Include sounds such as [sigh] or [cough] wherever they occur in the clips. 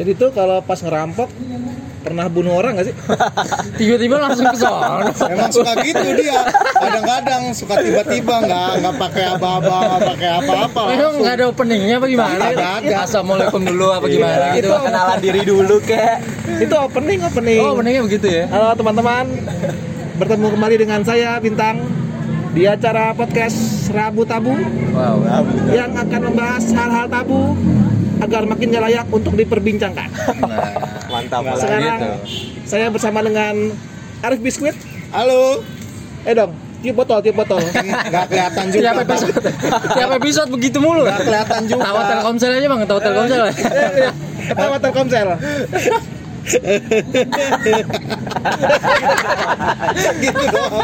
Jadi tuh kalau pas ngerampok pernah bunuh orang [laughs] gak sih? tiba-tiba langsung ke sana Emang suka gitu dia. Kadang-kadang suka tiba-tiba nggak nggak pakai apa-apa, nggak pakai apa-apa. Emang nggak ada openingnya apa gimana? Nggak ada. Assalamualaikum dulu apa gimana Iya. gitu? Itu kenalan diri dulu kek Itu opening opening. Oh openingnya begitu ya? Halo teman-teman, bertemu kembali dengan saya Bintang di acara podcast Rabu Tabu Wow. yang akan membahas hal-hal tabu agar makin gak layak untuk diperbincangkan. gitu. Nggak mantap mantap. Sekarang saya bersama dengan Arif Biskuit. Halo. Eh dong, tiup botol, tiup botol. [laughs] Nggak kelihatan juga. Tiap episode, tiap episode begitu mulu. ya? Nggak kelihatan juga. Tawa Telkomsel aja bang, tawa Telkomsel. ya? Ketawa Telkomsel. gitu dong.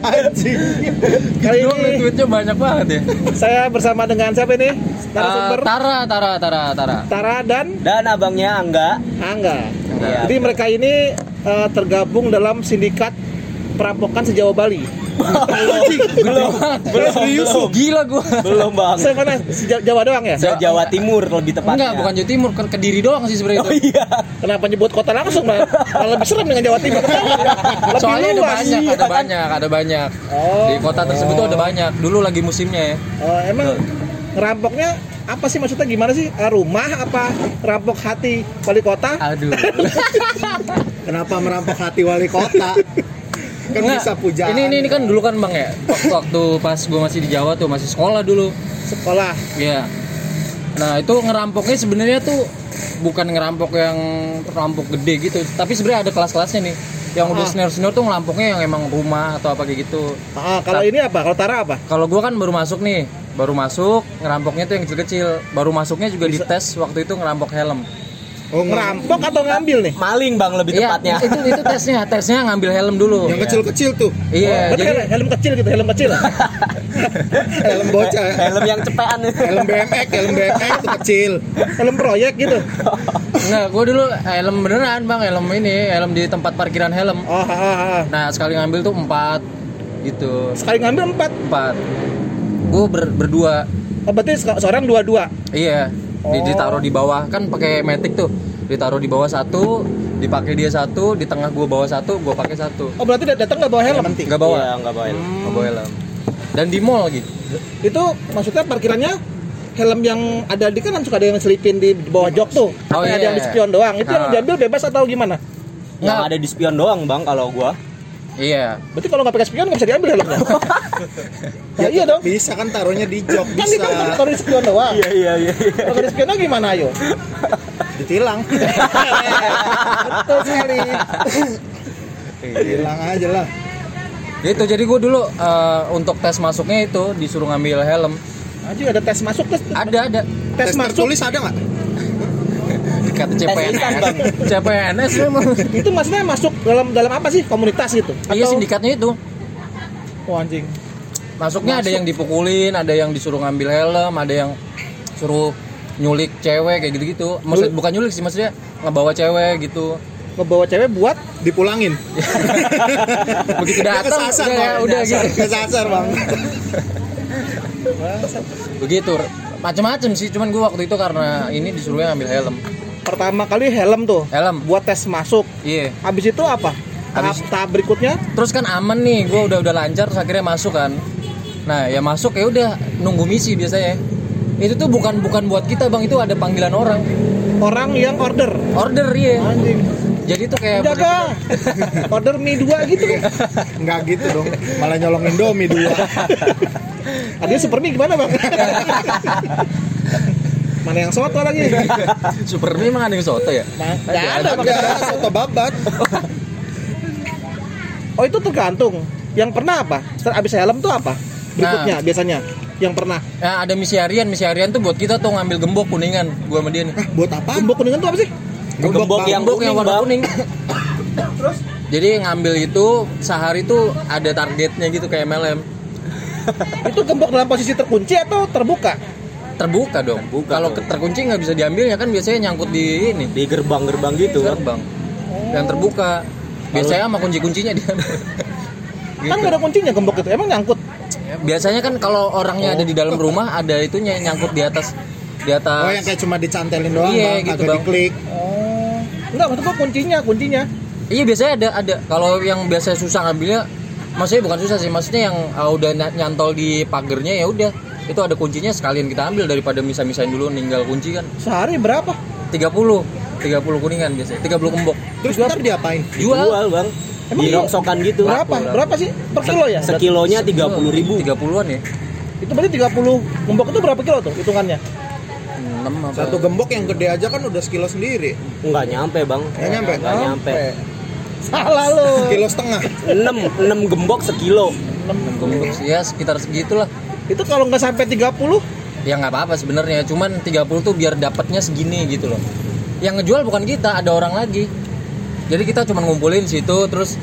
Anjing. Gitu Kali Kan Doang ini tweetnya banyak banget ya. saya bersama dengan siapa nih? Eh, Narasumber Tara, Tara, Tara, Tara. Tara dan dan abangnya Angga Angga. Iya. Jadi mereka ini eh, tergabung dalam sindikat perampokan sejauh Bali. Belum, belum serius. Gila gua. belum bang Saya mana? Seja- Jawa doang ya? se Jawa Timur lebih Enggak, tepatnya bukan Jawa Timur, ke Kediri doang sih sebenarnya oh itu. iya Kenapa nyebut kota langsung, Bang? Malah lebih serem dengan Jawa Timur. Lebih Soalnya ada luas. banyak, ada banyak, ada banyak. Oh. Di kota tersebut tuh ada banyak. Dulu lagi musimnya ya. Oh, emang ngerampoknya apa sih maksudnya gimana sih? Eh, Rumah apa rampok hati wali kota? Aduh. Kenapa merampok hati wali kota? Kan Enggak, bisa pujaan. Ini ini, ini kan dulu kan Bang ya. Waktu, waktu pas gue masih di Jawa tuh, masih sekolah dulu. Sekolah. Iya. Nah, itu ngerampoknya sebenarnya tuh bukan ngerampok yang rampok gede gitu, tapi sebenarnya ada kelas-kelasnya nih. Yang udah Ah. senior-senior tuh ngerampoknya yang emang rumah atau apa kayak gitu. Ah, kalau ini apa? Kalau Tara apa? Kalau gua kan baru masuk nih, baru masuk ngerampoknya tuh yang kecil-kecil. Baru masuknya juga dites waktu itu ngerampok helm. Oh, ngeram. Ngerampok atau ngambil nih? maling bang lebih Iya, [laughs] tepatnya itu itu tesnya, tesnya ngambil helm dulu. Yang Oh, Iya. kecil-kecil tuh. Iya, Berarti jadi kan helm kecil gitu, helm kecil. [laughs] Helm bocah. helm yang cepean Helm BMX, helm BMX tuh kecil. helm proyek gitu. enggak, gua dulu helm beneran, Bang, helm ini, helm di tempat parkiran helm. Oh, ah, ah, ah. Nah, sekali ngambil tuh empat gitu. sekali ngambil empat. Empat. Gua ber- berdua. Oh, berarti se- seorang dua-dua. Iya, di- Oh. ditaruh di bawah kan pakai metik tuh. Ditaruh di bawah satu, dipakai dia satu, di tengah gua bawa satu, gua pakai satu. Oh, berarti dat- datang nggak bawa helm? penting. Enggak bawa. Iya, nggak bawa helm. Nggak bawa helm. Dan di mall lagi. Itu maksudnya parkirannya helm yang ada di kanan suka ada yang selipin di bawah jok tuh. Oh, Yang ada iya. yang di spion doang. Itu yang Ah. diambil bebas atau gimana? yang Nggak. ada di spion doang bang kalau gua Iya. Berarti kalau nggak pakai spion nggak bisa diambil helmnya. ya iya dong. Bisa kan taruhnya di jok, Kan itu bisa kalau di spion doang. iya iya iya Kalau di spion doang gimana ayo? ditilang. Betul sekali. Hilang aja lah. Itu Gitu, jadi gua dulu eh, untuk tes masuknya itu disuruh ngambil helm. Anjir ada tes masuk tes Ada ada tes Tes masuk. tertulis ada nggak? kata instan, CPNS. Bang. CPNS memang. Itu maksudnya masuk dalam dalam apa sih? Komunitas gitu. Iya Atau- sindikatnya itu. Oh, anjing. Masuknya ada yang dipukulin, ada yang disuruh ngambil helm, ada yang suruh nyulik cewek kayak gitu-gitu. Maksud bukan nyulik sih maksudnya ngebawa cewek gitu. Ngebawa cewek buat Dipulangin. Begitu Iya. Dia datang kesasar, udah, Bang. udah Kesasar, gitu. Kesasar, Bang. Begitu macam-macam sih, cuman gua waktu itu karena ini disuruhnya ngambil helm. pertama kali helm tuh. Helm. Buat tes masuk. Iya. Habis itu apa? Tahap, Habis- tahap berikutnya Terus kan aman nih, gua udah udah lancar terus akhirnya masuk kan. Nah, ya masuk ya udah nunggu misi biasanya. Itu tuh bukan bukan buat kita, Bang. Itu ada panggilan orang. orang yang order. Order ya. Anjing. Jadi tuh kayak [laughs] Jaga. order mie dua gitu. Enggak gitu dong. Malah nyolongin domi dua. Tadi super mie gimana bang? Mana yang soto lagi? Super Mie emang ada yang soto ya? Nah, nggak ada Enggak, makanya. soto babat. Oh itu tergantung. Yang pernah apa? Setelah abis helm tuh apa? Berikutnya biasanya yang pernah. Nah, ada misi harian, misi harian tuh buat kita tuh ngambil gembok kuningan gua sama dia nih. Buat apa? Gembok kuningan tuh Ah, apa sih? Gembok Gembok Bang. yang Gembok yang kuning, warna Bang. kuning. Terus? Jadi ngambil itu sehari tuh ada targetnya gitu kayak MLM. Itu gembok dalam posisi terkunci atau terbuka? Terbuka dong. Terbuka Kalau dong. terkunci nggak bisa diambilnya kan biasanya nyangkut di ini, di gerbang-gerbang gitu Bang. gerbang. Yang terbuka. Biasanya sama kunci-kuncinya dia. [laughs] Kan Gitu. nggak ada kuncinya gembok itu. Emang nyangkut. Biasanya kan kalau Oh. orangnya ada di dalam rumah ada itunya yang nyangkut di atas di atas. Oh, yang kayak cuma dicantelin doang, Iya, Bang. gitu, Agak Bang. diklik. Oh. Enggak, maksud gua kuncinya, kuncinya. Iya biasanya ada ada. Kalau yang biasa susah ngambilnya, maksudnya bukan susah sih, maksudnya yang ah, udah na- nyantol di pagernya ya udah itu ada kuncinya sekalian kita ambil daripada misa-misain dulu ninggal kunci kan Sehari berapa? 30 30 kuningan biasanya 30 kembok Terus ntar diapain? jual Jual bang. Emang Di iya? rongsokan gitu. Berapa? laku. Berapa sih per kilo ya? Sekilonya tiga puluh ribu. 30-an ya Itu berarti 30 gembok itu berapa kilo tuh hitungannya? 6 apa Satu gembok yang gede aja kan udah sekilo sendiri. Nggak nyampe bang. Nggak nyampe? Nggak nyampe. Salah lu. Oh. Kilo setengah. Enam enam Oh. gembok sekilo. Enam gembok sih, ya sekitar segitulah Itu kalau nggak sampai 30 ya nggak apa-apa sebenarnya cuman 30 tuh biar dapatnya segini gitu loh yang ngejual bukan kita ada orang lagi jadi kita cuman ngumpulin situ terus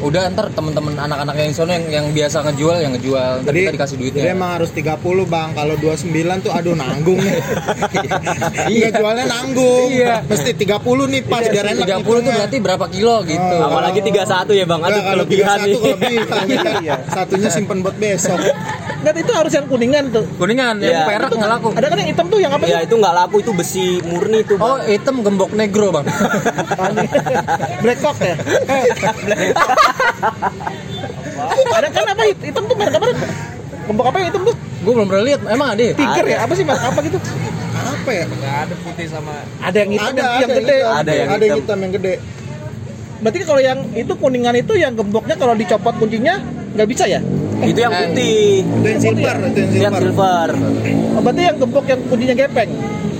udah ntar temen-temen anak-anak yang sono yang, yang biasa ngejual yang ngejual ntar kita dikasih duitnya jadi emang harus 30 bang Kalau 29 tuh aduh nanggung nih Iya jualnya nanggung Iya. Mesti 30 nih pas biar 30 enak tuh hitungnya. berarti berapa kilo gitu Oh. Apalagi tiga satu ya bang. Aduh Nggak, kalau kelebihan nih. 31 kelebihan iya. Satunya simpen buat besok dan itu harus yang kuningan tuh. kuningan Iya. yang perak nggak laku Ada kan yang hitam tuh yang apa sih? [laughs] Ya itu nggak laku itu besi murni tuh oh bang. hitam gembok negro [laughs] bang [laughs] Black Hawk ya. Eh, Black- ada kan apa hit- hitam tuh merek apa? Gembok apa yang hitam tuh? gue belum pernah lihat emang ada ya? Tiger ya? Apa sih merek apa gitu? Apa ya? Ada yang hitam Ada, yang, yang ada gede. hitam. Ada yang ada yang hitam. hitam yang gede Berarti kalau yang itu kuningan itu yang gemboknya kalau dicopot kuncinya nggak bisa ya? Itu yang Eh. putih. Itu yang silver Itu yang Yang silver silver. Oh, Berarti yang gembok yang kuncinya gepeng.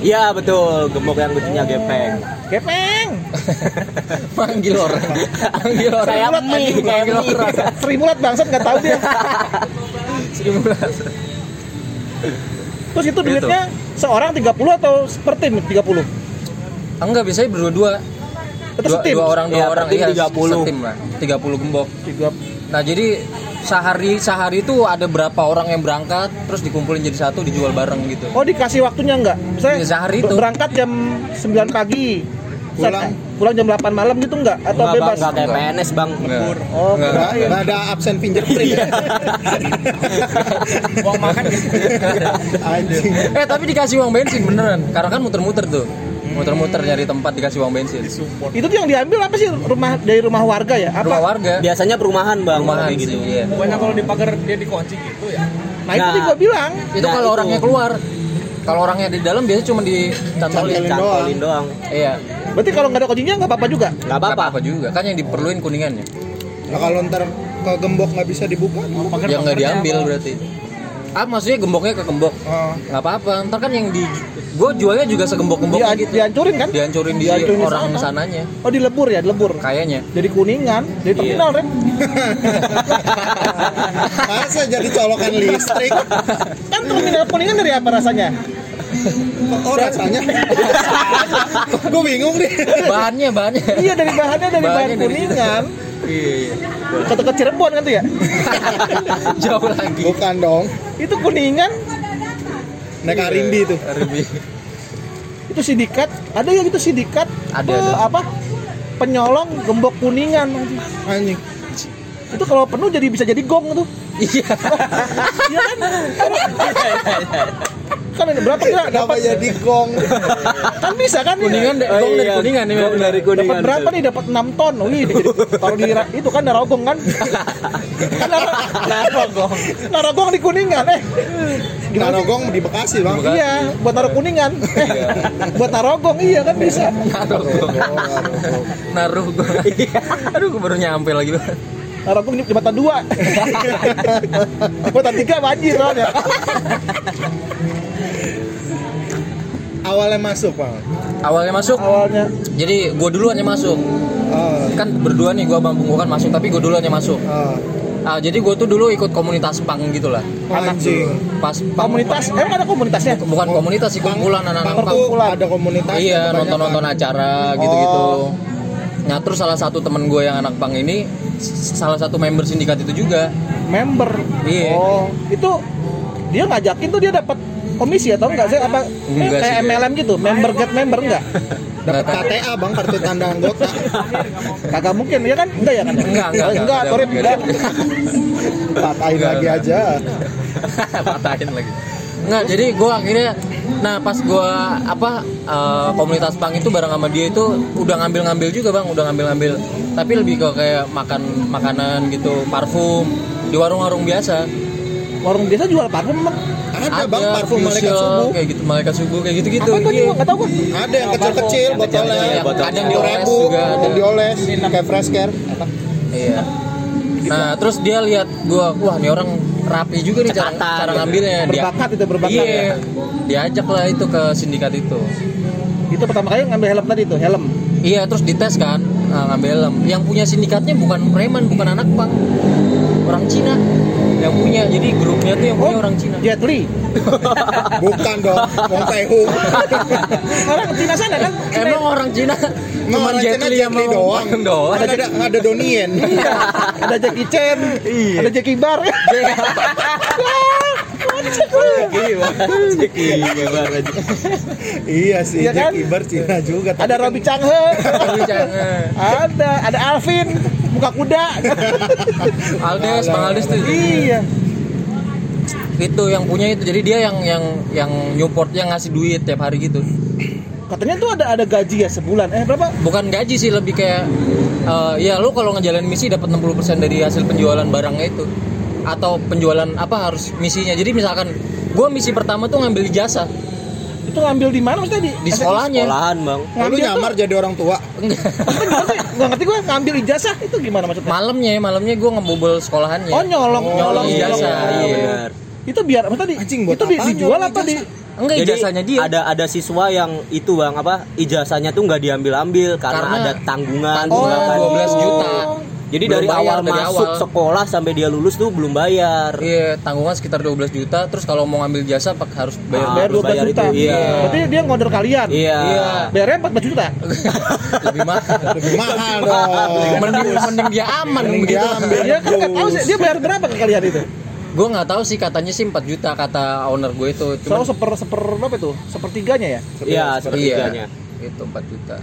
Iya betul. Gembok yang kuncinya gepeng. Gepeng. manggil orang manggil orang Saya Mulat, mie, anjing. saya Gila, mie. keras. Sri mulat bangsat nggak tahu dia. Terus Gitu. itu duitnya seorang 30 atau per tim 30? enggak biasanya berdua-dua Atau dua, setim? dua orang dua Iya, orang per tim iya 30. setim lah 30 gembok Tiga- Nah jadi sehari sehari itu ada berapa orang yang berangkat terus dikumpulin jadi satu dijual bareng gitu. Oh dikasih waktunya enggak? Misalnya Iya, sehari ber- tuh. berangkat jam 9 pagi Pulang? Saat- pulang jam 8 malam gitu enggak? Atau Nggak bang, bebas? nggak kayak PNS bang. Enggak. Oh, Enggak. Nggak nggak ada absen fingerprint [laughs] ya? Uang makan ya? Anjing Eh tapi dikasih uang bensin beneran. Karena kan muter-muter tuh. Muter-muter nyari tempat dikasih uang bensin. Itu tuh yang diambil apa sih rumah dari rumah warga ya? Apa? Rumah warga. Biasanya perumahan bang. Rumahan kayak gitu. gitu. Iya. Bukannya kalau di pagar dia dikunci gitu ya? Nah, itu Nah. tadi gua bilang Itu Nah, kalau itu. orangnya keluar. Kalau orangnya di dalam biasanya cuma dicantolin. Cantolin. Cantolin doang. Iya. Berarti kalau nggak ada kuncinya nggak apa-apa juga Nggak Nggak apa-apa. Kan apa-apa juga. Kan yang diperluin kuningannya. Nah kalau ntar ke gembok nggak bisa dibuka Pagar Yang nggak Ya, diambil berarti. Ah maksudnya gemboknya ke gembok. Oh, nggak apa-apa ntar kan yang di gue jualnya juga segembok-gembok ya. Dia, gitu Dihancurin kan? dihancurin di Dihancurin di orang sana. sananya Oh dilebur ya, dilebur kayaknya Jadi kuningan, dari Iya. terminal Ren masa jadi colokan listrik? Kan terminal kuningan dari apa rasanya? Oh [laughs] rasanya? Gue bingung nih. Eh, bahannya bahannya iya dari bahannya dari Bahannya bahan dari kuningan iya [laughs] iya. Kata-kata Cirebon kan tuh ya jauh lagi Bukan dong, Itu kuningan, naik Arindi tuh. Ribet. Iya. itu sindikat ada ya gitu sindikat eh, Ada, ada. apa penyolong gembok kuningan Anjing. itu kalau penuh jadi bisa jadi gong tuh iya iya kan kan ada berapa kira Kenapa dapat jadi gong? kan bisa kan ya? kuningan deh gong dari iya. kuningan nih Gong dari kuningan. dapat berapa nih dapat 6 ton wih jadi- kalau di ra- itu kan narogong [laughs] kan kan nara- narogong narogong di kuningan eh gimana Naro sih? gong di Bekasi bang. iya buat naro kuningan eh, Iya. [laughs] buat narogong iya kan bisa naruh gong Oh, Iya. naruh [laughs] gong aduh gue baru nyampe lagi loh Narogong di jembatan [laughs] dua jembatan tiga banjir soalnya Awalnya masuk bang. awalnya masuk awalnya jadi gue duluan yang masuk Oh, kan berdua nih gue bang Punggu kan masuk tapi gue duluan yang masuk oh. ah jadi gue tuh dulu ikut komunitas pang gitu lah Anjing. pas pang- komunitas emang ada komunitasnya bukan komunitas sih kumpulan anak-anak Bang pang tuh ada komunitas. iya nonton-nonton acara gitu-gitu Oh. nah terus salah satu temen gue yang anak pang ini s- salah satu member sindikat itu juga member Iya. oh itu dia ngajakin tuh dia dapat komisi atau enggak sih apa Enggak kayak sih, MLM gitu member get member enggak Nggak tahu. KTA bang kartu tanda anggota. kagak mungkin ya kan enggak ya kan Enggak, enggak, enggak, enggak, sorry, enggak. enggak. Iya. Patahin lagi aja. [laughs] patahin lagi Nggak, jadi gue akhirnya nah pas gue apa eh, komunitas pang itu bareng sama dia itu udah ngambil-ngambil juga bang, udah ngambil-ngambil. Tapi lebih ke kayak makan makanan gitu, parfum di warung-warung biasa. Warung biasa jual parfum emang. Ada bang parfum malaikat Fusion, subuh. kayak gitu malaikat subuh kayak gitu-gitu. Apa itu aja Iya. gua nggak tahu gua. Ada yang kecil-kecil Yang botolnya. kecil-kecil, botolnya. Ada yang Sepuluh dioles ribu, juga, ada. yang dioles, kayak fresh care. Iya. Nah, terus dia lihat gua, wah ini orang rapi juga nih cara, Cekatan, cara gitu. ngambilnya. Dia, Berbakat itu berbakat. iya. ya. Diajak lah itu ke sindikat itu. Itu pertama kali ngambil helm tadi tuh, helm. Iya, terus dites kan nah, ngambil helm. Yang punya sindikatnya bukan preman, bukan anak pang. Orang Cina yang punya. Jadi grupnya tuh yang punya Oh. orang Cina. Jet Li. Bukan dong, Wong Tae [laughs] Ho. Orang Cina sana kan. Emang orang Cina cuman orang Jet Cina Li Jet sama Li doang. doang. Nggak Kan ada nggak ada Donien. ada Jackie Chan, ada Jackie Bar. Iya sih, Iya kan? Jack Ibar Cina juga. tapi ada kan- Robi Changhe. Tapi jangan. ada, ada Alvin, muka kuda. Aldes, Bang Aldes tuh. iya. Itu yang punya itu. Jadi dia yang yang yang Newport yang ngasih duit tiap hari gitu. Katanya tuh ada ada gaji ya sebulan. Eh berapa? bukan gaji sih lebih kayak eh, ya lu kalau ngejalanin misi dapat 60% dari hasil penjualan barangnya itu atau penjualan apa harus misinya jadi misalkan gua misi pertama tuh ngambil ijazah Itu ngambil di mana maksudnya di di sekolahnya Olahan bang. Lu nyamar jadi orang tua. Gak ngerti gue ngambil ijazah itu gimana maksudnya? malamnya ya malamnya gua ngebobol sekolahannya Oh nyolong, Oh, nyolong iya, nyolong. iya, benar. Itu biar apa tadi? Anjing, buat itu di- apaan dijual nyolong apa di? enggak Jadi ijazahnya Iya, dia ada ada siswa yang itu bang apa ijazahnya tuh nggak diambil-ambil karena, Karena- ada tanggungan. tanggungan misalkan. 12 juta Oh. Jadi Belum dari bayar awal dari masuk awal. sekolah sampai dia lulus tuh belum bayar. iya tanggungan sekitar 12 juta terus kalau mau ngambil jasa pak harus Ah, bayar Bayar harus 12 bayar juta. itu, iya. Berarti dia ngorder kalian. Iya. Iya. Bayarnya 14 juta. lebih [laughs] mahal Iya, Lebih mahal [laughs] dong. kan? mending mending dia aman Mending begitu dia aman. Dia kan nggak tahu sih dia bayar berapa ke kalian itu. gue nggak tahu sih katanya sih 4 juta kata owner gue itu Soalnya seper seper berapa itu? Sepertiganya ya. Iya, iya sepertiganya. itu 4 juta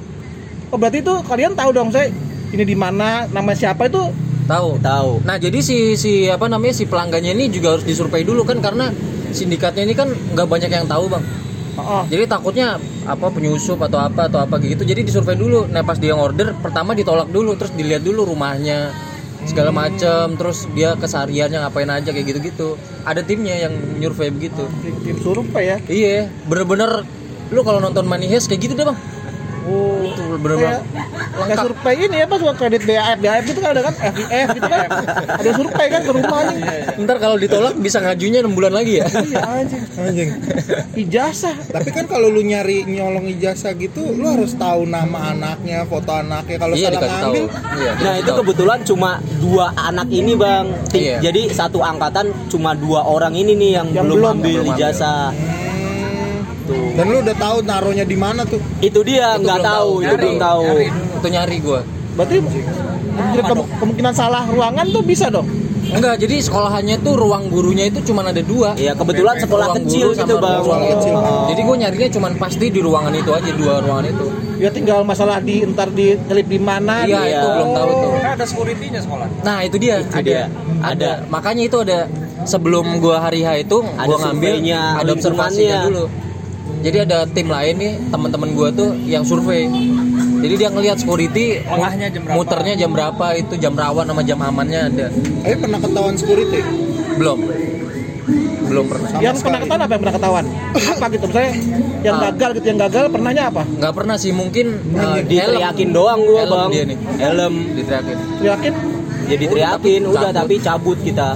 Oh berarti itu kalian tahu dong saya ini di mana, nama siapa itu tahu Tahu. Nah, jadi si si apa namanya si pelanggannya ini juga harus disurvei dulu kan karena sindikatnya ini kan nggak banyak yang tahu, Bang. Oh, Jadi takutnya apa penyusup atau apa atau apa gitu. Jadi disurvei dulu. Nah, pas dia order pertama ditolak dulu, terus dilihat dulu rumahnya segala macam, terus dia kesehariannya ngapain aja kayak gitu-gitu. Ada timnya yang nyurvei begitu. tim, tim survei ya. Iya, bener-bener lu kalau nonton Money Heist kayak gitu deh, Bang. Oh, Itu bener-bener Kayak survei ini ya pas buat kredit BAF, BAF itu kan ada kan FIF gitu kan. Ada survei kan ke rumah anjing. Iya, Ntar kalau ditolak bisa ngajunya 6 bulan lagi ya. [laughs] Iya anjing. Anjing. Ijazah. Tapi kan kalau lu nyari nyolong ijazah gitu, lu harus tahu nama anaknya, foto anaknya. Kalau Iya, salah dikasih tahu. ngambil, Iya, Nah dikasih itu tahu. kebetulan cuma dua anak ini bang. Ti- Iya. Jadi satu angkatan cuma dua orang ini nih yang, Yang belum, belum. ambil Belum ambil. ijazah. Tuh. dan lu udah tahu naruhnya di mana tuh. Itu dia Itu nggak belum tahu, tahu. itu Nyari, belum tahu. itu nyari gue Berarti kemungkinan, kem- kemungkinan salah ruangan tuh bisa dong. enggak jadi sekolahannya tuh ruang gurunya itu cuma ada dua Iya kebetulan sekolah Ruang kecil guru sama gitu bang. ruang kecil. Oh. jadi gue nyarinya cuma pasti di ruangan itu aja dua ruangan itu Ya tinggal masalah di entar di telip di mana. iya di- iya. itu belum tahu itu Kan ada security-nya sekolah. nah itu dia Itu dia. ada Ada. makanya itu ada sebelum gue hari H itu Ada gue ngambil surveinya, ada observasinya lingkungannya. dulu jadi ada tim lain nih teman-teman gue tuh yang survei jadi dia ngelihat security mu- Lengahnya jam berapa? muternya jam berapa itu jam rawan sama jam amannya ada Tapi pernah ketahuan security. belum belum pernah Sama Yang pernah sekali. ketahuan apa yang pernah ketahuan? Apa gitu misalnya yang Ah. gagal gitu, yang gagal pernahnya apa? nggak pernah sih mungkin uh, Diteriakin Nah, doang gua Helm bang. dia nih. Helm. diteriakin Yakin Jadi teriakin tapi udah cabut. tapi cabut kita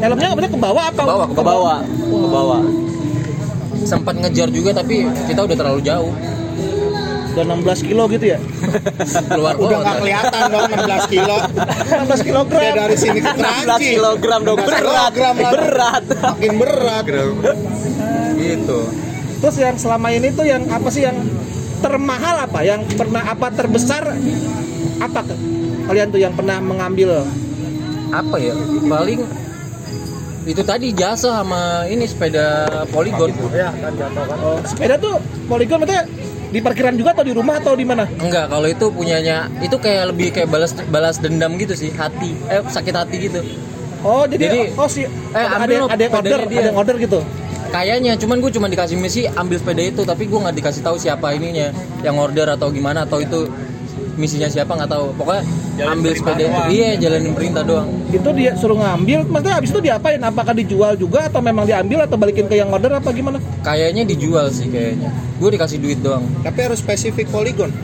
helmnya kemudian ke bawah apa? Ke bawah, ke bawah ke bawah. sempat ngejar juga tapi kita udah terlalu [laughs] jauh Udah 16 kilo gitu [laughs] ya. keluar Udah nggak kota. kelihatan dong 16 [laughs] kilo. 16 kilogram. Udah dari sini ke 16 Kranji. kilogram dong 16 berat kilogram lah. berat. Makin berat. gitu Terus yang selama ini tuh yang apa sih yang termahal apa? Yang pernah apa terbesar apa ke- kalian tuh yang pernah mengambil apa ya paling itu tadi jasa sama ini sepeda poligon sepeda tuh poligon maksudnya di parkiran juga atau di rumah atau di mana? enggak kalau itu punyanya itu kayak lebih kayak balas balas dendam gitu sih hati eh sakit hati gitu Oh jadi, Jadi, oh si ambil ada, yang- eh, not ada yang sepedanya order dia. ada yang order gitu. Kayaknya, cuman gue cuma dikasih misi ambil sepeda itu, tapi gue nggak dikasih tahu siapa ininya yang order atau gimana atau itu misinya siapa nggak tahu. Pokoknya Jalanin ambil perintah sepeda itu, doang. iya jalanin perintah doang. itu dia suruh ngambil maksudnya abis itu diapain apakah dijual juga atau memang diambil atau balikin ke yang order apa gimana Kayaknya dijual sih kayaknya. Gue dikasih duit doang. Tapi harus spesifik poligon.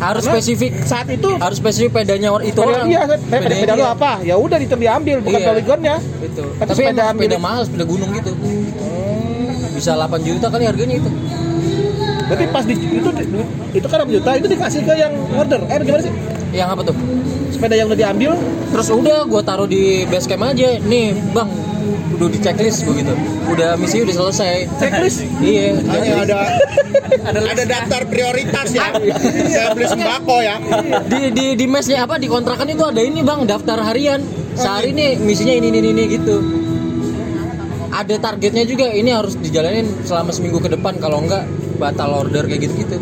Harus Karena spesifik, saat itu harus spesifik pedanya or- itu sepeda orang. dia eh, sepeda, sepeda lu dia. apa ya udah itu diambil bukan ya. Iya. poligonnya Itu. Tapi Tapi Hmm. sepeda sepeda, sepeda milik- mahal, sepeda gunung gitu. Bisa 8 juta kali harganya itu. berarti pas di, itu itu kan berapa juta itu dikasih ke yang order eh gimana sih Yang apa tuh? sepeda yang udah diambil Terus udah gue taruh di base camp aja. Nih, Bang, udah di checklist begitu. Udah misi udah selesai. checklist Iya, Hanya [laughs] ada ada daftar prioritas ya. Saya beli sembako ya. di di di mesnya apa di kontrakan itu ada ini bang daftar harian sehari nih misinya ini ini ini, ini gitu ada targetnya juga ini harus dijalanin selama seminggu ke depan kalau enggak batal order kayak gitu gitu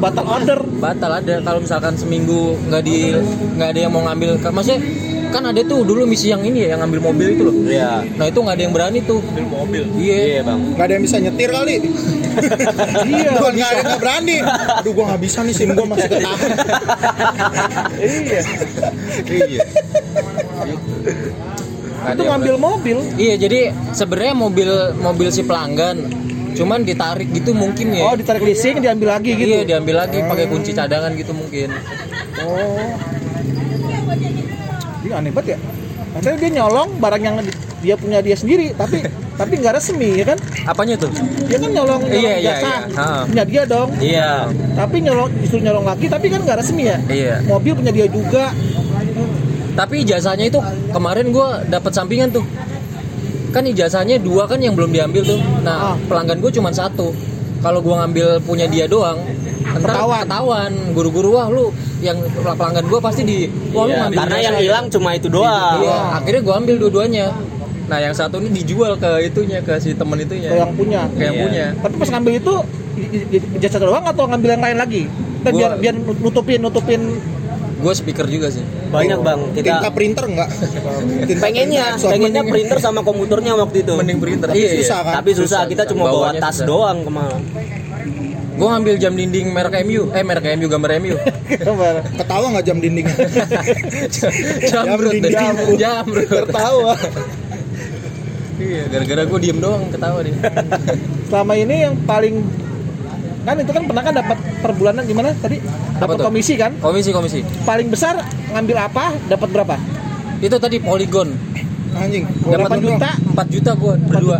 batal order batal ada kalau misalkan seminggu nggak di nggak ada yang mau ngambil maksudnya kan ada tuh dulu misi yang ini ya yang ngambil mobil itu loh Iya. nah itu nggak ada yang berani tuh Ambil mobil. iya Iya, Bang. Gak ada yang bisa nyetir kali. iya Bukan gak ada nggak berani. Aduh gua nggak bisa nih sim gua masih ketahan. iya Iya. nggak ada itu yang ngambil mobil berani. iya jadi sebenarnya mobil mobil si pelanggan cuman ditarik gitu mungkin ya oh ditarik leasing diambil lagi gitu Iya diambil lagi pakai kunci cadangan gitu mungkin. Oh. Dia aneh banget ya. Maksudnya dia nyolong barang yang di- dia punya dia sendiri, tapi tapi nggak resmi ya kan? Apanya tuh? Dia kan nyolong, Iya, nyolong iya, jasa iya. Ha. punya dia dong. Iya, Tapi nyolong justru nyolong lagi, tapi kan nggak resmi ya. iya. Mobil punya dia juga. Tapi ijazahnya itu kemarin gua dapat sampingan tuh. Kan ijazahnya dua kan yang belum diambil tuh. Ah. Nah pelanggan gue cuma satu. Kalau gua ngambil punya dia doang, entar Ketahuan. ketahuan guru-guru wah lu yang pelanggan gua pasti di wah lu Iya, ngambil karena ijazah yang ya." hilang ah. cuma itu doang. Iya, akhirnya gua ambil dua-duanya. Nah yang satu ini dijual ke itunya ke si temen itunya. Ke yang punya. Ke yang Iya. punya. Tapi pas ngambil itu i- i- i- jasa doang atau ngambil yang lain lagi? Kan Gua- biar biar nutupin nutupin Gue speaker juga sih. Banyak, Bang. Kita Tinta printer enggak? pengennya, pengennya printer sama komputernya waktu itu. Mending printer. Iya, Tapi susah kan? Tapi susah, kita cuma bawa Bawanya susah. tas doang kemana. Gue ngambil jam dinding merek MU, eh merek MU gambar MU. [laughs] Ketawa nggak jam dindingnya? [laughs] jamrut deh. dinding. Jamrut. tertawa. Iya, gara-gara gue diem doang ketawa deh. selama ini yang paling kan itu kan pernah kan dapat per bulanan gimana tadi dapat tuh? komisi kan Komisi komisi. paling besar ngambil apa dapat berapa Itu tadi poligon Anjing. Dapat Berapa duit. doang? Juta? 4 juta gue berdua.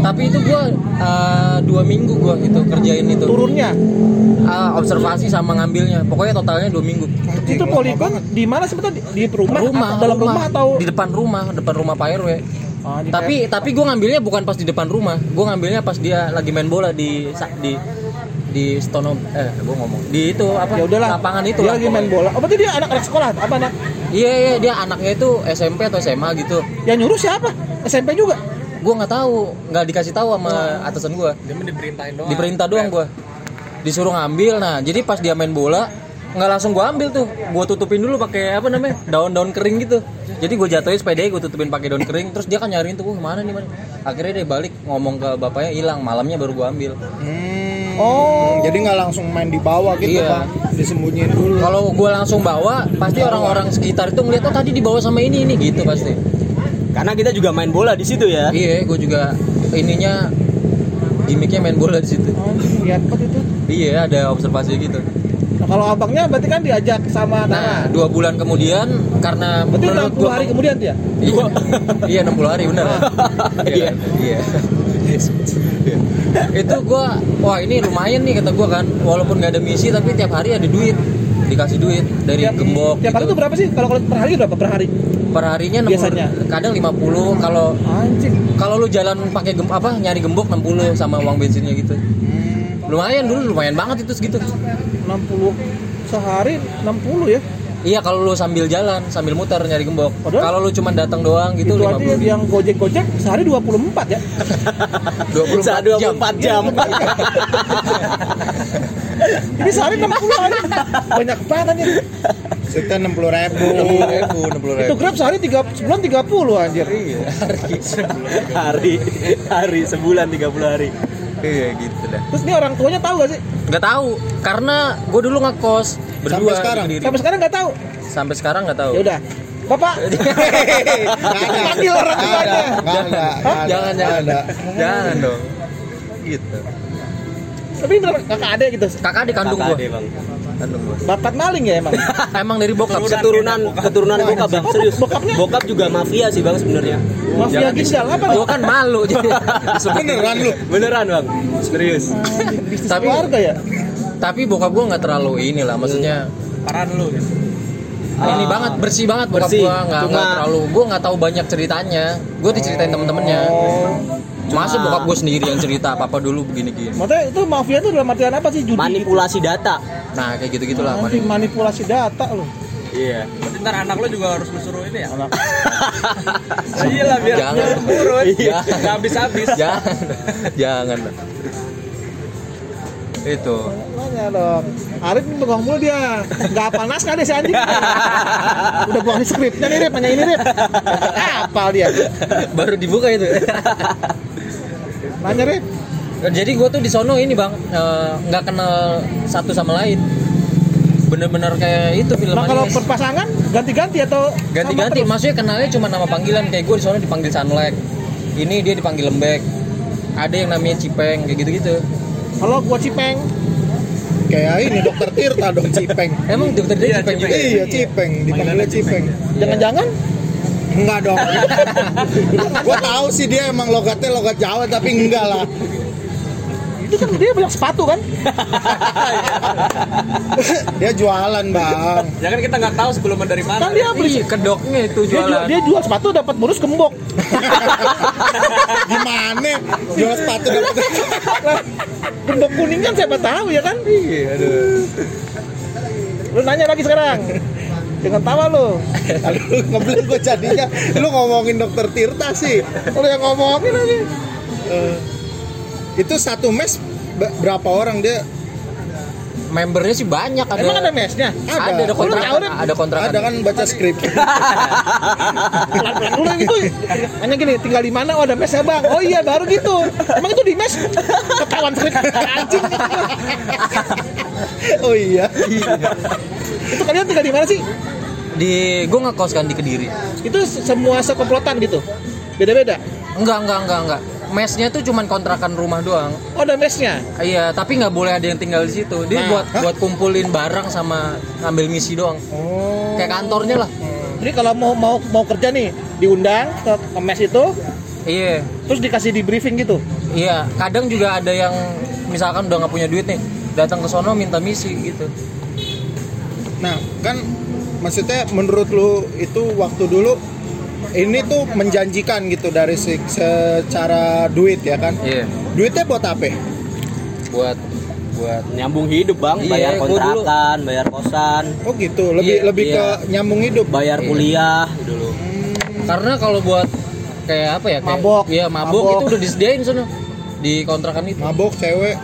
Tapi itu gue eh, dua minggu gue itu kerjain itu turunnya Ah, observasi sama ngambilnya. Pokoknya totalnya dua minggu. Anjing, itu lama poligon banget. di mana sebetulnya di di rumah, Rumah, atau dalam rumah, atau di depan rumah, depan rumah Pak RW. Oh, di Tapi tapi gue ngambilnya bukan pas di depan rumah, gue ngambilnya pas dia lagi main bola di sa- di di Stono eh gue ngomong di itu apa ya udahlah lapangan itu dia lah lagi main pokoknya. bola oh berarti dia anak-anak sekolah apa anak Iya iya dia anaknya itu SMP atau SMA gitu. yang Ya nyuruh siapa SMP juga Gue nggak tahu, nggak dikasih tahu sama atasan gue. Dia mah diperintahin doang. Diperintah doang gue. Disuruh ngambil. Nah jadi pas dia main bola nggak langsung gue ambil tuh, gue tutupin dulu pakai apa namanya daun-daun kering gitu. Jadi gue jatuhin sepedanya gue tutupin pakai daun kering. Terus dia kan nyariin tuh, "Wah, mana nih mana? Akhirnya dia balik ngomong ke bapaknya hilang. Malamnya baru gue ambil. Hmm, Oh. Jadi nggak langsung main di bawah gitu Iya. bang? Disembunyiin dulu. Kalau gue langsung bawa, pasti orang-orang sekitar itu ngeliat, oh tadi dibawa sama ini ini gitu pasti. Karena kita juga main bola di situ ya. Iya, gue juga ininya gimmicknya main bola di situ. oh, lihat kok itu Iya, ada observasi gitu. nah, kalau abangnya berarti kan diajak sama Nah, Tara dua bulan kemudian karena berarti menurut 60 hari gua- kemudian dia Iya, iya 60 hari [laughs] benar. Iya, iya. Iya. Itu gua wah ini lumayan nih kata gua kan. Walaupun nggak ada misi tapi tiap hari ada duit dikasih duit dari tiap, gembok tiap hari gitu. itu berapa sih kalau kalau per hari berapa per hari Perharinya 60, Biasanya? kadang 50 kalau anjing kalau lu jalan pakai gem- apa nyari gembok 60 sama uang bensinnya gitu Hmm. lumayan dulu lumayan banget itu segitu 60 sehari 60 ya iya kalau lu sambil jalan sambil muter nyari gembok Padahal- kalau lu cuma datang doang gitu itu aja ya. 50 yang gojek gojek sehari 24 ya 24 Bisa jam Iya. 24 jam. ini sehari 60 aja banyak banget ini Itu enam puluh ribu. Itu Grab sehari tiga, sebulan 30 anjir. Iya. hari hari sebulan 30 hari Iya gitu dah. Terus ini orang tuanya tahu gak sih? Nggak tahu karena gue dulu ngekos berdua Sampai sekarang? sendiri. Sampai sekarang nggak tahu. Sampai sekarang nggak tahu. Ya udah. Bapak, panggil orang Nggak ada, tuanya. nggak ada, nggak ada, jangan nggak jangan [laughs] ada. jangan dong. Gitu. Tapi ini bener kakak ada gitu. Kakak adik kandung Kakak gue. deh, Bang. Kandung gue. Bapak maling ya emang. [laughs] Emang dari bokap. keturunan keturunan bokap bang serius bokapnya? bokap juga mafia sih bang sebenarnya Mafia ginjal apa Gue nih? kan malu jadi. Beneran [laughs] lu. beneran bang serius Bisnis Tapi- keluarga ya. Tapi bokap gue nggak terlalu inilah maksudnya Parah dulu gitu. Ah, ini banget bersih banget bokap bersih. gua nggak nggak Cuma- terlalu gua nggak tahu banyak ceritanya gua diceritain temen-temennya masa bokap gua sendiri yang cerita papa dulu begini gini Maksudnya itu mafia itu dalam artian apa sih? Judi. manipulasi data nah kayak gitu gitulah Nanti manipulasi data loh. iya Berarti ntar anak lo juga harus lu suruh ini ya. Iya lah biar Jangan. biar turun. Iya. Nggak habis-habis. jangan jangan itu Nanya dong. Arif ini pegang mulu dia. Nggak apa naskah deh si anjing. Udah buang di skripnya nih Rip, nanya ini Rip. Apal dia. baru dibuka itu Nanya Rip. jadi gua tuh di sono ini bang eh, nggak kenal satu sama lain bener-bener kayak itu film Nah, kalau animes. berpasangan ganti-ganti atau sama ganti-ganti terus? maksudnya kenalnya cuma nama panggilan kayak gue di sana dipanggil Sanlek ini dia dipanggil Lembek ada yang namanya Cipeng kayak gitu-gitu Kalau gua cipeng, Kayak ini dokter Tirta dong Cipeng. emang dokter dia Iya, Cipeng ya? juga Iya, Cipeng, dipanggilnya Cipeng. jangan-jangan Enggak dong. [laughs] Gua tahu sih dia emang logatnya logat Jawa tapi enggak lah. itu kan dia banyak sepatu kan? Dia jualan, Bang. Ya kan kita nggak tahu sebelumnya dari mana. Kan dia beli Iya, kedoknya itu dia jual, jualan dia jual sepatu dapat bonus gembok. Gimana? Jual sepatu dapat Gembok kuning kan siapa tahu ya kan? Iya, Lu nanya lagi sekarang. Dengan tawa lu. Aduh, ngeblank gua jadinya. Lu ngomongin dokter Tirta sih. Lu yang ngomongin aja. Eh, itu satu mes be- berapa orang dia? membernya sih banyak ada Emang ada mesnya? ada ada Lu tahu kontrakan deh. ada kontrakan Ada kan baca skrip. pelan-pelan dulu yang itu hanya gini tinggal di mana oh ada mes ya bang oh iya baru gitu emang itu di mes ketahuan sering [laughs] anjing Oh iya. itu kalian tinggal di mana sih di gue ngekos kan di kediri itu semua sekomplotan gitu beda-beda enggak enggak enggak enggak mesnya tuh cuman kontrakan rumah doang oh ada mesnya iya tapi nggak boleh ada yang tinggal di situ dia Nah. buat buat kumpulin barang sama ngambil misi doang kayak kantornya lah jadi kalau mau mau mau kerja nih diundang ke, ke mes itu iya terus dikasih di briefing gitu Iya, kadang juga ada yang misalkan udah nggak punya duit nih, datang ke sono minta misi gitu. Nah, kan maksudnya menurut lu itu waktu dulu ini tuh menjanjikan gitu dari se- secara duit ya kan? Iya, Duitnya buat apa? buat buat nyambung hidup bang Iya, bayar gua kontrakan bayar kosan Oh gitu, lebih Iya, lebih iya. ke nyambung hidup. bayar Iya. kuliah dulu karena kalau buat kayak apa ya? Kayak, Mabok. Iya, mabok, Mabok. itu udah disediain sono di kontrakan itu. Mabok cewek.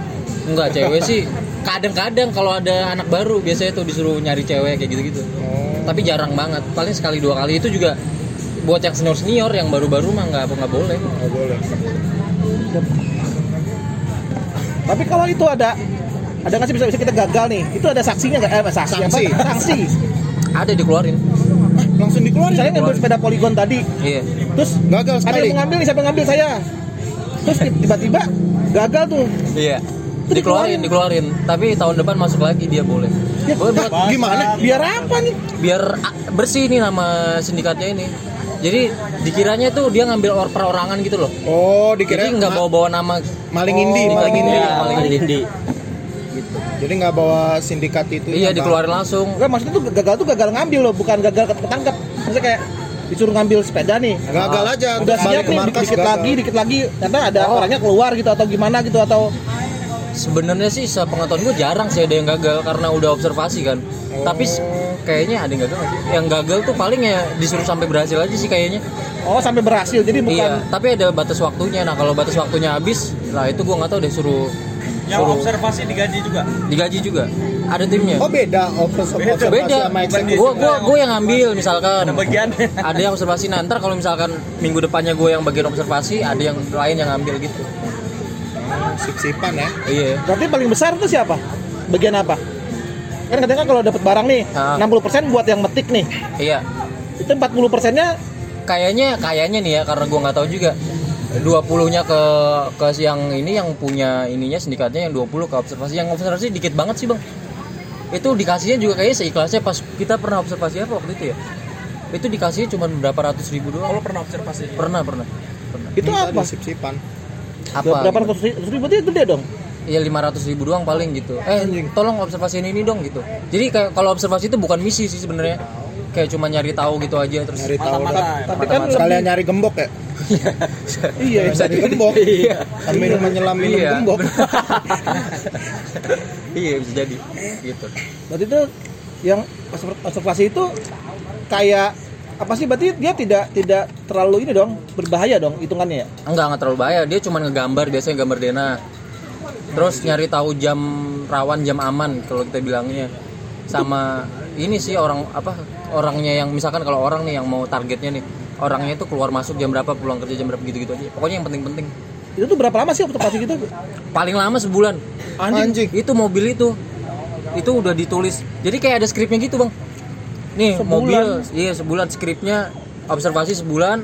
Enggak, cewek sih kadang-kadang kalau ada anak baru biasanya tuh disuruh nyari cewek kayak gitu-gitu. Tapi jarang banget, paling sekali dua kali itu juga buat yang senior senior yang baru-baru mah nggak nggak boleh. Nggak boleh. tapi kalau itu ada ada nggak sih bisa, bisa kita gagal nih itu ada saksinya nggak eh saksi, Sanksi. apa sanksi Ada dikeluarin. Langsung dikeluarin. misalnya ngambil sepeda poligon tadi Iya. terus ada Gagal sekali. yang mengambil nih siapa yang ngambil saya terus tiba-tiba gagal tuh Iya. Itu Dikeluarin, dikeluarin. Tapi tahun depan masuk lagi dia boleh. Ya, Boleh buat Hah, gimana? biar apa nih biar a- bersih nih nama sindikatnya ini. Jadi dikiranya tuh dia ngambil or perorangan gitu loh. Oh, dikira Jadi nggak ma- bawa-bawa nama. maling indi, maling indi. Iya, maling paling indi Jadi nggak bawa sindikat itu. ya, Iya dikeluarin langsung. Enggak maksudnya tuh gagal tuh gagal ngambil loh bukan gagal ketangkep maksudnya kayak disuruh ngambil sepeda nih Gagal aja. udah terus siap balik Nah, ke nih markas dikit, dikit gagal. lagi dikit lagi ternyata ada orangnya keluar gitu atau gimana gitu atau Sebenarnya sih sepengetahuan gue jarang sih ada yang gagal karena udah observasi kan. Tapi s- kayaknya ada yang gagal. nggak sih? Yang gagal tuh paling ya disuruh sampai berhasil aja sih kayaknya. oh sampai berhasil jadi bukan Iya. Tapi ada batas waktunya. Nah kalau batas waktunya habis, lah itu gue nggak tahu deh suruh Yang Suruh. observasi digaji juga. digaji juga ada timnya Oh beda observasi Beda. beda sama eksekusi. gue gua gua yang ambil misalkan Ada bagiannya. ada yang observasi nah ntar kalau misalkan minggu depannya gue yang bagian observasi ada yang lain yang ambil gitu Sip-sipan ya. iya Berarti paling besar itu siapa? Bagian apa? Kan kadang-kadang kalau dapat barang nih, Ah. 60% buat yang metik nih. iya Itu 40%-nya kayaknya kayaknya nih ya karena gua nggak tahu juga 20-nya ke ke yang ini yang punya ininya sindikatnya yang 20 ke observasi yang observasi dikit banget sih bang itu dikasihnya juga kayaknya seikhlasnya pas kita pernah observasi apa waktu itu ya itu dikasihnya cuma berapa ratus ribu doang Kalau pernah observasi. pernah pernah pernah itu Tadi apa? Sip-sipan. apa Berapa ratus ribu? Terus ribu itu gede dong. ya 500 ribu doang paling gitu eh tolong observasiin ini dong gitu jadi kayak kalau observasi itu bukan misi sih sebenarnya kayak cuma nyari tahu gitu aja terus Nyari tahu Mata-mata. dah. Tapi kan Sekalian nyari gembok ya. iya bisa Bisa nyari gembok. Sambil menyelam minum Iya. gembok. iya bisa jadi gitu Berarti itu yang observ- observasi itu kayak apa sih berarti dia tidak tidak terlalu ini dong berbahaya dong hitungannya ya enggak enggak terlalu bahaya dia cuma ngegambar biasanya gambar dena terus nyari tahu jam rawan jam aman kalau kita bilangnya sama ini sih orang apa orangnya yang misalkan kalau orang nih yang mau targetnya nih orangnya itu keluar masuk jam berapa pulang kerja jam berapa gitu-gitu aja pokoknya yang penting-penting itu tuh berapa lama sih observasi gitu paling lama sebulan Anjing. itu mobil itu itu udah ditulis jadi kayak ada skripnya gitu bang nih Sebulan. mobil iya sebulan skripnya observasi sebulan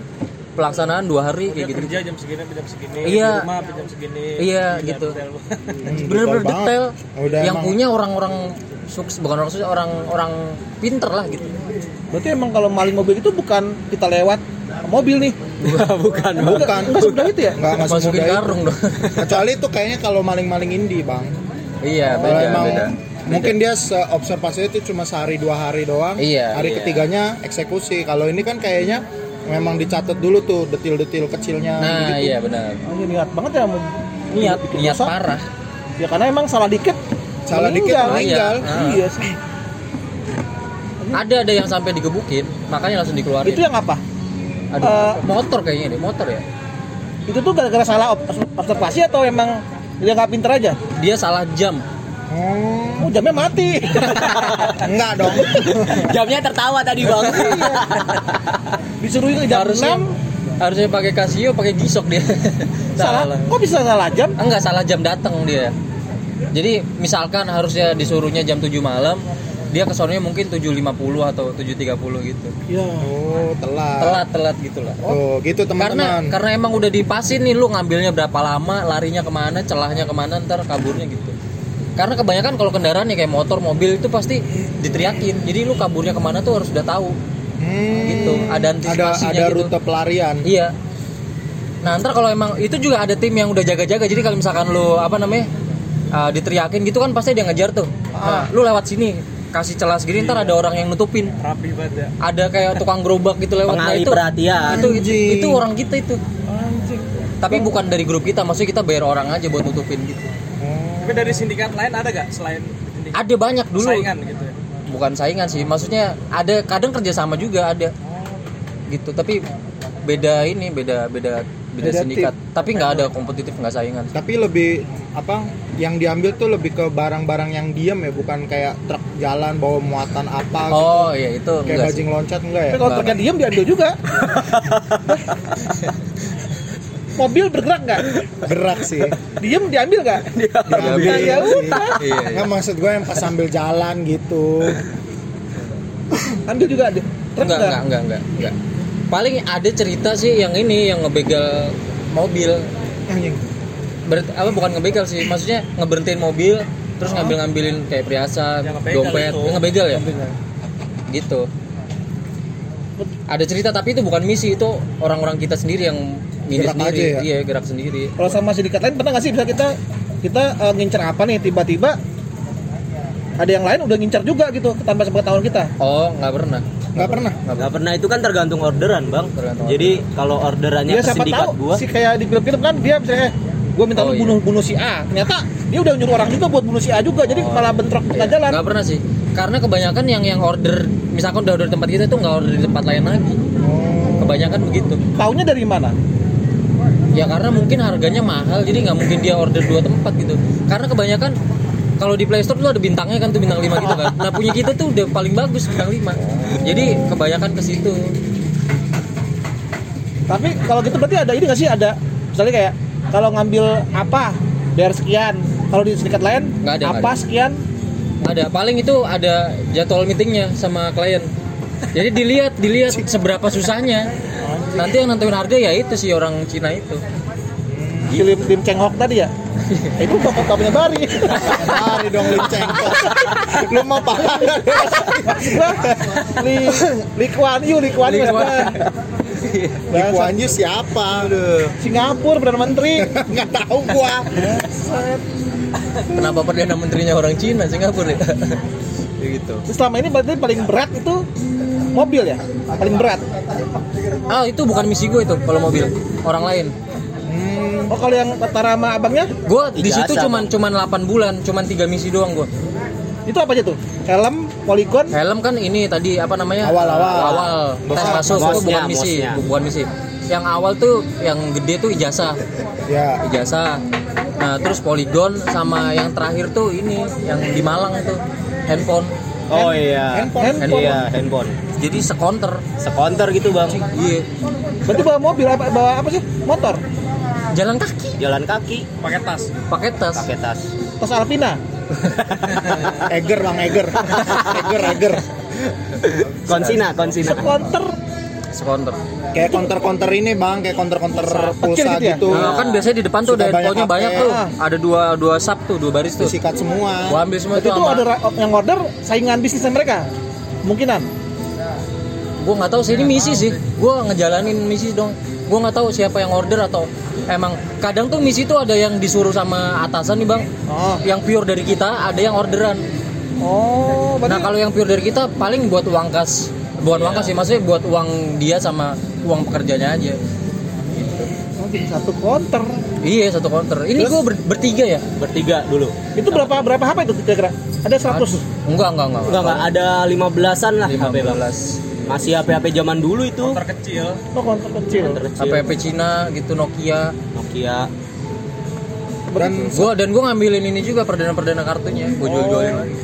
pelaksanaan dua hari Dia kayak gitu kerja jam segini, jam segini. Iya. Di rumah jam segini. Iya, Gila, gitu. detail [laughs] banget. Hmm, bener-bener banget. detail Udah yang emang. punya orang-orang sukses bukan orang sukses orang orang pinter lah gitu berarti emang kalau maling mobil itu bukan kita lewat mobil nih bukan Bukan. enggak sebenarnya itu ya Enggak enggak masukin semudah itu. karung dong [laughs] Kecuali itu kayaknya kalau maling-maling indie, Bang. iya beda Kalau Oh, emang beda mungkin dia observasi itu cuma sehari dua hari doang. Iya, Hari iya. ketiganya eksekusi. Kalau ini kan kayaknya memang dicatat dulu tuh detil-detil kecilnya. nah gitu. iya benar Ini niat banget ya mau niat bikin niat rusak. parah Ya karena emang salah dikit. Salah dikit Iya. meninggal. Ah. Iya sih. ada ada yang sampai digebukin makanya langsung dikeluarin Itu yang apa? Aduh, eh, motor kayaknya deh motor ya Itu tuh gara-gara salah ob- observasi atau emang dia nggak pinter aja? dia salah jam Hmm, Oh jamnya mati. [laughs] enggak dong. [laughs] Jamnya tertawa tadi bang. Disuruh jam harusnya 6 harusnya pakai Casio pakai gisok [laughs] dia Ah, salah. Kok bisa salah jam? enggak salah jam datang dia jadi misalkan harusnya disuruhnya jam 7 malam dia kesononya mungkin 7.50 atau 7.30 gitu Iya. Ya. Oh, Ah. telat. telat telat gitulah Oh, gitu karena teman-teman. karena emang udah dipasin nih lu ngambilnya berapa lama larinya kemana celahnya kemana ntar kaburnya gitu karena kebanyakan kalau kendaraan ya kayak motor mobil itu pasti diteriakin jadi lu kaburnya kemana tuh harus udah tahu Hmm, gitu, ada ada antisipasinya ada gitu. rute pelarian. Iya. Nah ntar kalau emang itu juga ada tim yang udah jaga-jaga. Jadi kalau misalkan lo apa namanya uh, diteriakin gitu kan pasti dia ngejar tuh. Nah, lu lewat sini kasih celah segini ntar ada orang yang nutupin. Rapi banget ya. Ada kayak tukang gerobak gitu lewat. Nah, Pengalih itu, perhatian. itu, itu itu orang kita itu. Tapi bukan dari grup kita. Maksudnya kita bayar orang aja buat nutupin gitu. Tapi dari sindikat lain ada gak selain sindikat Ada banyak dulu. saingan gitu ya? Bukan saingan sih. Maksudnya ada kadang kerjasama juga ada. Gitu. Tapi beda ini beda beda beda, Beda tim. sindikat. Tapi nggak ada kompetitif nggak saingan. Tapi lebih apa yang diambil tuh lebih ke barang-barang yang diam ya, bukan kayak truk jalan bawa muatan apa gitu. Oh iya itu Kayak enggak sih. bajing loncat enggak ya? Tapi kalau truknya diem diambil juga. [laughs] Mobil bergerak nggak? Gerak sih. [laughs] Diem diambil nggak? Diambil Nah, ya sih. udah. Iya, iya. Nggak maksud gue yang pas sambil jalan gitu. Ambil juga. Truk Enggak, enggak, enggak, enggak, enggak. Paling ada cerita sih yang ini yang ngebegal mobil. Eh, Anjing. Ber- apa bukan ngebegal sih, maksudnya ngeberhentiin mobil terus ngambil-ngambilin kayak perhiasan, Ya, ngebegal dompet, itu. ngebegal ya? Gitu. Ada cerita tapi itu bukan misi, itu orang-orang kita sendiri yang ini Gerak sendiri, aja ya? iya gerak sendiri. Kalau sama sindikat lain pernah nggak sih bisa kita kita eh, ngincer apa nih tiba-tiba ada yang lain udah ngincer juga gitu tanpa sepengetahuan kita. Oh, nggak pernah. Nggak pernah. Gak pernah itu kan tergantung orderan bang. Tergantung Jadi kalau orderannya Dia ke Iya, siapa sindikat tahu gua, si kayak di film-film kan dia misalnya gue minta Oh, lu iya. bunuh bunuh si A. Ternyata dia udah nyuruh orang juga buat bunuh si A juga. Oh, Jadi malah bentrok di tengah jalan. Iya. Nggak pernah sih. Karena kebanyakan yang yang order misalkan udah order di tempat kita itu nggak order di tempat lain lagi. Kebanyakan begitu. Taunya dari mana? ya karena mungkin harganya mahal jadi nggak mungkin dia order dua tempat gitu karena kebanyakan kalau di Play Store tuh ada bintangnya kan tuh bintang 5 gitu kan nah punya kita tuh udah paling bagus bintang 5 jadi kebanyakan ke situ Tapi kalau gitu berarti ada ini nggak sih ada misalnya kayak kalau ngambil apa bayar sekian, kalau di serikat lain Nggak ada, apa nggak sekian ada paling itu ada jadwal meetingnya sama klien jadi dilihat dilihat seberapa susahnya nanti yang nentuin harga ya itu si orang Cina itu film film cengok tadi [laughs] ya. itu bapak bapaknya Bari. Lari dong lu cengkok. lu mau paham nggak? Maksud gua, Li Li Kuan Yew, Li Kuan Yew, Li maksud Kuan. gua. Di Kuan Yu siapa? Aduh. Singapura perdana menteri. Nggak tahu gua. kenapa perdana menterinya orang Cina Singapura ya Ya gitu Selama ini berarti paling berat itu mobil ya, paling berat. ah itu bukan misi gue itu kalau mobil orang lain Oh kalau yang setara sama abangnya gue di situ Ijazah, cuman cuman 8 bulan cuman tiga misi doang gue itu apa aja tuh? Helm, poligon, helm kan ini tadi apa namanya Awal-awal. awal tes Bosnya, masuk itu bosnya, bukan misi bosnya. bu- bukan misi yang awal tuh yang gede tuh ijazah Ya. ijazah nah terus poligon sama yang terakhir tuh ini yang di Malang tuh handphone Oh iya. handphone. Handphone. Iya, handphone. jadi sekonter Sekonter gitu, Bang. iya berarti bawa mobil apa bawa apa sih? Motor, jalan kaki Jalan kaki, pakai tas pakai tas pakai tas. tas Alpina. Eger bang [laughs] Eger. Eger Eger. Konsina, konsina. Sekonter sekonter Kayak konter-konter ini bang, kayak konter-konter gitu pulsa ya? gitu. Nah, kan biasanya di depan tuh Sudah ada handphonenya banyak, banyak tuh pakai. ada dua dua sub tuh dua baris tuh Disikat semua. gua ambil semua Berarti itu itu sama- ada ra- yang order saingan bisnisnya mereka. Mungkinan. gue nggak tahu sih ini misi sih gue ngejalanin misi dong gue nggak tahu siapa yang order atau emang kadang tuh misi tuh ada yang disuruh sama atasan nih bang Oh. yang pure dari kita ada yang orderan Oh, nah berarti kalau yang pure dari kita paling buat uang kas buat uang kas sih maksudnya buat uang dia sama uang pekerjanya aja Oh, jadi satu konter. iya satu counter ini gue bertiga ya Bertiga dulu. Itu berapa berapa HP itu kira-kira? Ada 100. enggak enggak enggak, Enggak, enggak ada 15-an lah HP, Bang. 15 Masih HP-HP zaman dulu itu. motor kecil Oh, konter kecil. Terkecil. HP HP Cina gitu Nokia Nokia. Dan gua dan gua ngambilin ini juga perdana perdana kartunya gua jual jualin lagi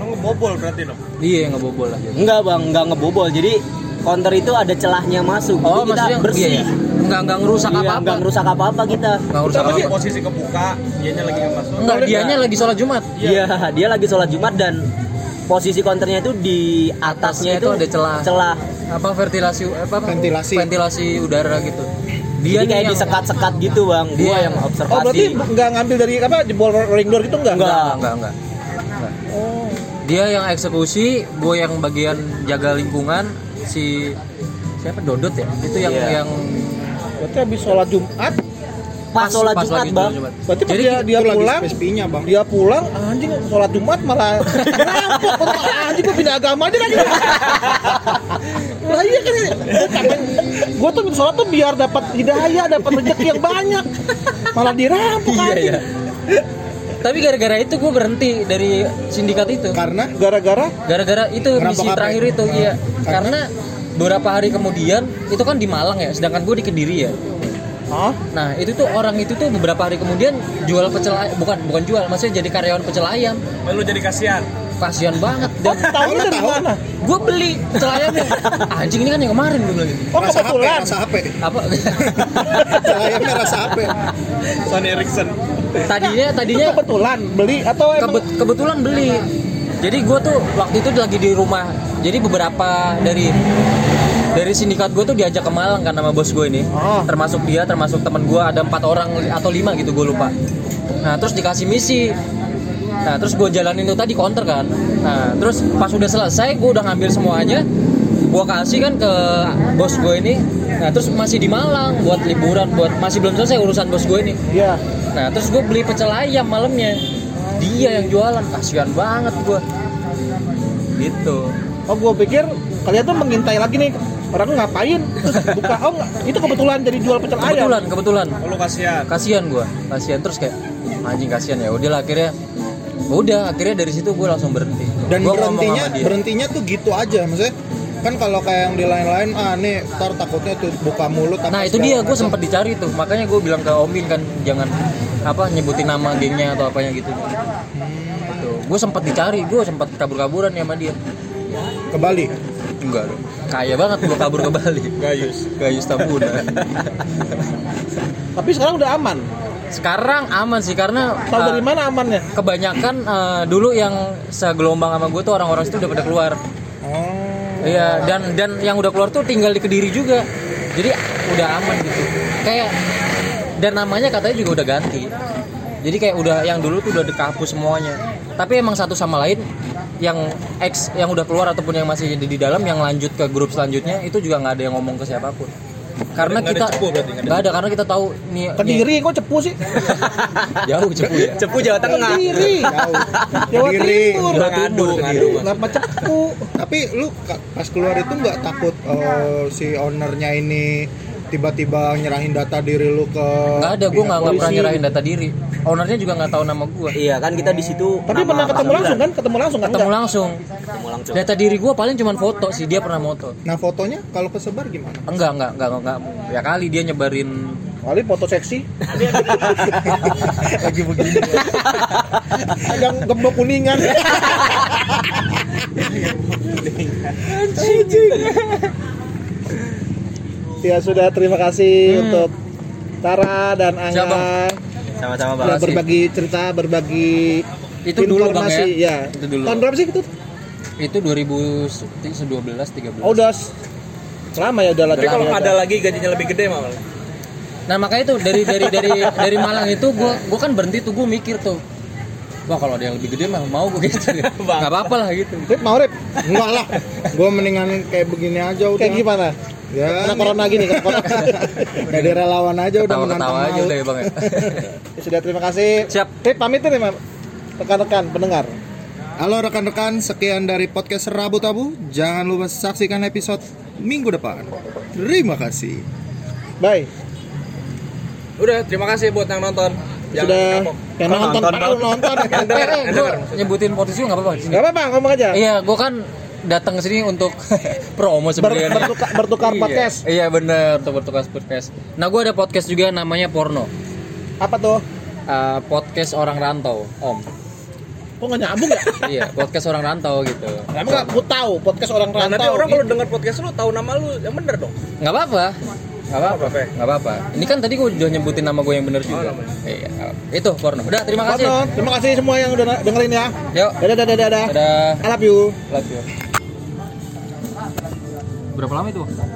lu ngebobol berarti dong iya ngebobol lah Enggak, Bang, enggak ngebobol. Jadi counter itu ada celahnya masuk. Jadi Oh, kita maksudnya bersih. iya, ya? Enggak enggak ngerusak Iya, apa-apa. enggak ngerusak apa-apa kita. Enggak ngerusak Tapi apa-apa. posisi kebuka dianya lagi nggak masuk Enggak, dianya lagi sholat Jumat. Iya, dia lagi sholat Jumat dan posisi konternya itu di atasnya Atasnya itu itu, ada celah. Celah. Apa ventilasi apa apa? Ventilasi. Ventilasi udara gitu. Dia Jadi nih kayak yang- disekat-sekat gitu, Bang. Gua Iya. yang observasi. Oh, berarti nggak ngambil dari apa jebol rolling door gitu nggak? Oh, Nggak. Enggak, enggak, enggak. Enggak. Dia yang eksekusi, gue yang bagian jaga lingkungan, si siapa Dodot ya? Itu yang Iya. yang Berarti habis sholat Jumat, pas sholat pas Jumat, lagi Bang. Jumat. berarti Jadi gitu. dia dia itu lagi pulang. SPSP-nya bang. Dia pulang, anjing sholat Jumat malah [laughs] ngerampok. Kok anjing gue pindah agama aja lagi. Lah iya kan. Gue tuh sholat tuh biar dapat hidayah, dapat rezeki yang banyak. Malah dirampok Iya, anjing. iya. Tapi gara-gara itu gue berhenti dari sindikat itu. Karena Gara-gara gara-gara itu Ngerampok misi apa? terakhir itu iya karena beberapa hari kemudian itu kan di Malang ya sedangkan gue di Kediri ya Hah? nah itu tuh orang itu tuh beberapa hari kemudian jual pecel ay- bukan bukan jual maksudnya jadi karyawan pecel ayam Lah, lu jadi kasihan kasihan banget dan Tahu lu dari mana? gue beli pecel [laughs] ayamnya anjing ini kan yang kemarin gue bilang gitu Oh rasa HP, kebetulan. rasa HP. apa [laughs] Sayangnya rasa HP. Sony Ericsson tadinya Itu tadinya kebetulan beli atau Oh, emang Iya. Kebet- kebetulan beli jadi gue tuh waktu itu lagi di rumah jadi beberapa dari dari sindikat gue tuh diajak ke Malang kan sama bos gue ini Oh. termasuk dia termasuk teman gue ada empat orang atau lima gitu gue lupa nah terus dikasih misi nah terus gue jalanin itu tadi counter kan nah terus pas udah selesai gue udah ngambil semuanya gue kasih kan ke bos gue ini nah terus masih di Malang buat liburan buat masih belum selesai urusan bos gue ini Iya. Nah terus gue beli pecel ayam malamnya Dia yang jualan, kasihan banget gue Gitu Oh gue pikir kalian tuh mengintai lagi nih orang ngapain terus buka oh nggak. itu kebetulan jadi jual pecel ayam Kebetulan, kebetulan Oh, lu kasihan Kasihan gue, kasihan Terus kayak, anjing kasihan ya Udah lah akhirnya Udah, akhirnya dari situ gue langsung berhenti Dan Gua ngomong berhentinya sama dia. berhentinya tuh gitu aja maksudnya kan kalau kayak yang di lain-lain ah nih ntar takutnya tuh buka mulut apa Nah itu segala dia gue macam. sempat dicari tuh makanya gue bilang ke Omin kan jangan apa nyebutin nama gengnya atau apanya gitu. Gue sempat dicari, gue sempat kabur-kaburan ya sama dia. ke Bali Enggak dong. Kaya banget gue kabur ke Bali. Gayus. Gayus Tabuna. Tapi sekarang udah aman. Sekarang aman sih karena Tahu uh, dari mana amannya? kebanyakan uh, dulu yang segelombang sama gue tuh orang-orang itu udah pada keluar. oh Iya dan dan yang udah keluar tuh tinggal di kediri juga. Jadi udah aman gitu. Kayak dan namanya katanya juga udah ganti. Jadi kayak udah yang dulu tuh udah dikapus semuanya. Tapi emang satu sama lain yang ex yang udah keluar ataupun yang masih di, di dalam yang lanjut ke grup selanjutnya itu juga nggak ada yang ngomong ke siapapun. Karena Nggak ada kita cepu berarti, nggak ada nggak ada karena kita tahu nih nih- Kediri kok cepu sih? jauh cepu ya. Cepu Jawa Tengah. Kediri. Jawa Kediri. Timur. Kurang adu, ngadu. kan? Kenapa cepu? tapi lu ka- pas keluar itu nggak takut eh, si ownernya ini tiba-tiba nyerahin data diri lu ke Nggak ada, gue pihak nggak nggak pernah Iya, polisi? nyerahin data diri. Ownernya juga nggak tahu nama gue. Iya kan kita di situ. Tapi nama pernah ketemu panggilan. langsung kan? Ketemu langsung kan? Ketemu Enggak. langsung. Ketemu langsung. Data diri gue paling cuman foto sih dia pernah moto. nah fotonya kalau kesebar gimana Enggak, enggak, enggak, enggak. Ya kali dia nyebarin Kali foto seksi. lagi begini Yang gembok kuningan. ya sudah terima kasih untuk Tara dan Siap, Bang. Angga Sama-sama Bang. Terima sudah kasih. berbagi cerita, berbagi Itu dulu, Bang, informasi. ya? ya. Itu dulu. Tahun berapa sih itu? itu 2012 13. Oh, udah s- lama ya udah Tapi kalau ada lagi gajinya lebih gede mah. Nah, makanya itu dari dari dari dari Malang itu gua gua kan berhenti tuh gua mikir tuh. Wah, kalau ada yang lebih gede mah mau gua gitu. Enggak apa-apa lah gitu. Rip, mau Rip? enggak lah gue mendingan kayak begini aja udah Kayak gimana? ya Kena nih. corona gini, kena corona. dari relawan aja udah Ketawa-ketawa menantang aja maut. udah ya, Bang. ya. Ya sudah terima kasih. Siap. Rip pamit nih, Mam. rekan-rekan pendengar. Halo rekan-rekan, sekian dari podcast Rabu Tabu. Jangan lupa saksikan episode minggu depan. Terima kasih. Bye. Udah, terima kasih buat yang nonton. Jangan sudah kapok. yang Oh, nonton, nonton, nonton, nonton. Yang Eh, denger, eh, yang gua denger. nyebutin posisi nggak apa-apa di sini. Enggak apa-apa, ngomong aja. Iya, gua kan datang ke sini untuk [laughs] promo Eh. Ber- sebenarnya. bertukar, bertukar Iya. podcast. Iya, bener untuk bertukar podcast. Nah, gua ada podcast juga namanya Porno. Apa tuh? Eh, podcast orang rantau, Om. Kok nggak nyambung ya? iya podcast orang rantau gitu Kamu nggak mau tahu podcast orang Nah, rantau. nanti orang kalau denger podcast lu tahu nama lu yang bener dong. nggak apa-apa nggak apa-apa Nggak apa-apa Oh, ya? nggak apa-apa ini kan tadi gue udah nyebutin nama gue yang bener juga namanya. iya nggak apa-apa. itu porno udah terima kasih Nonton. Iya. Terima kasih semua yang udah dengerin ya. yuk Dadah, dadah, dadah. dadah I love you. love you berapa lama itu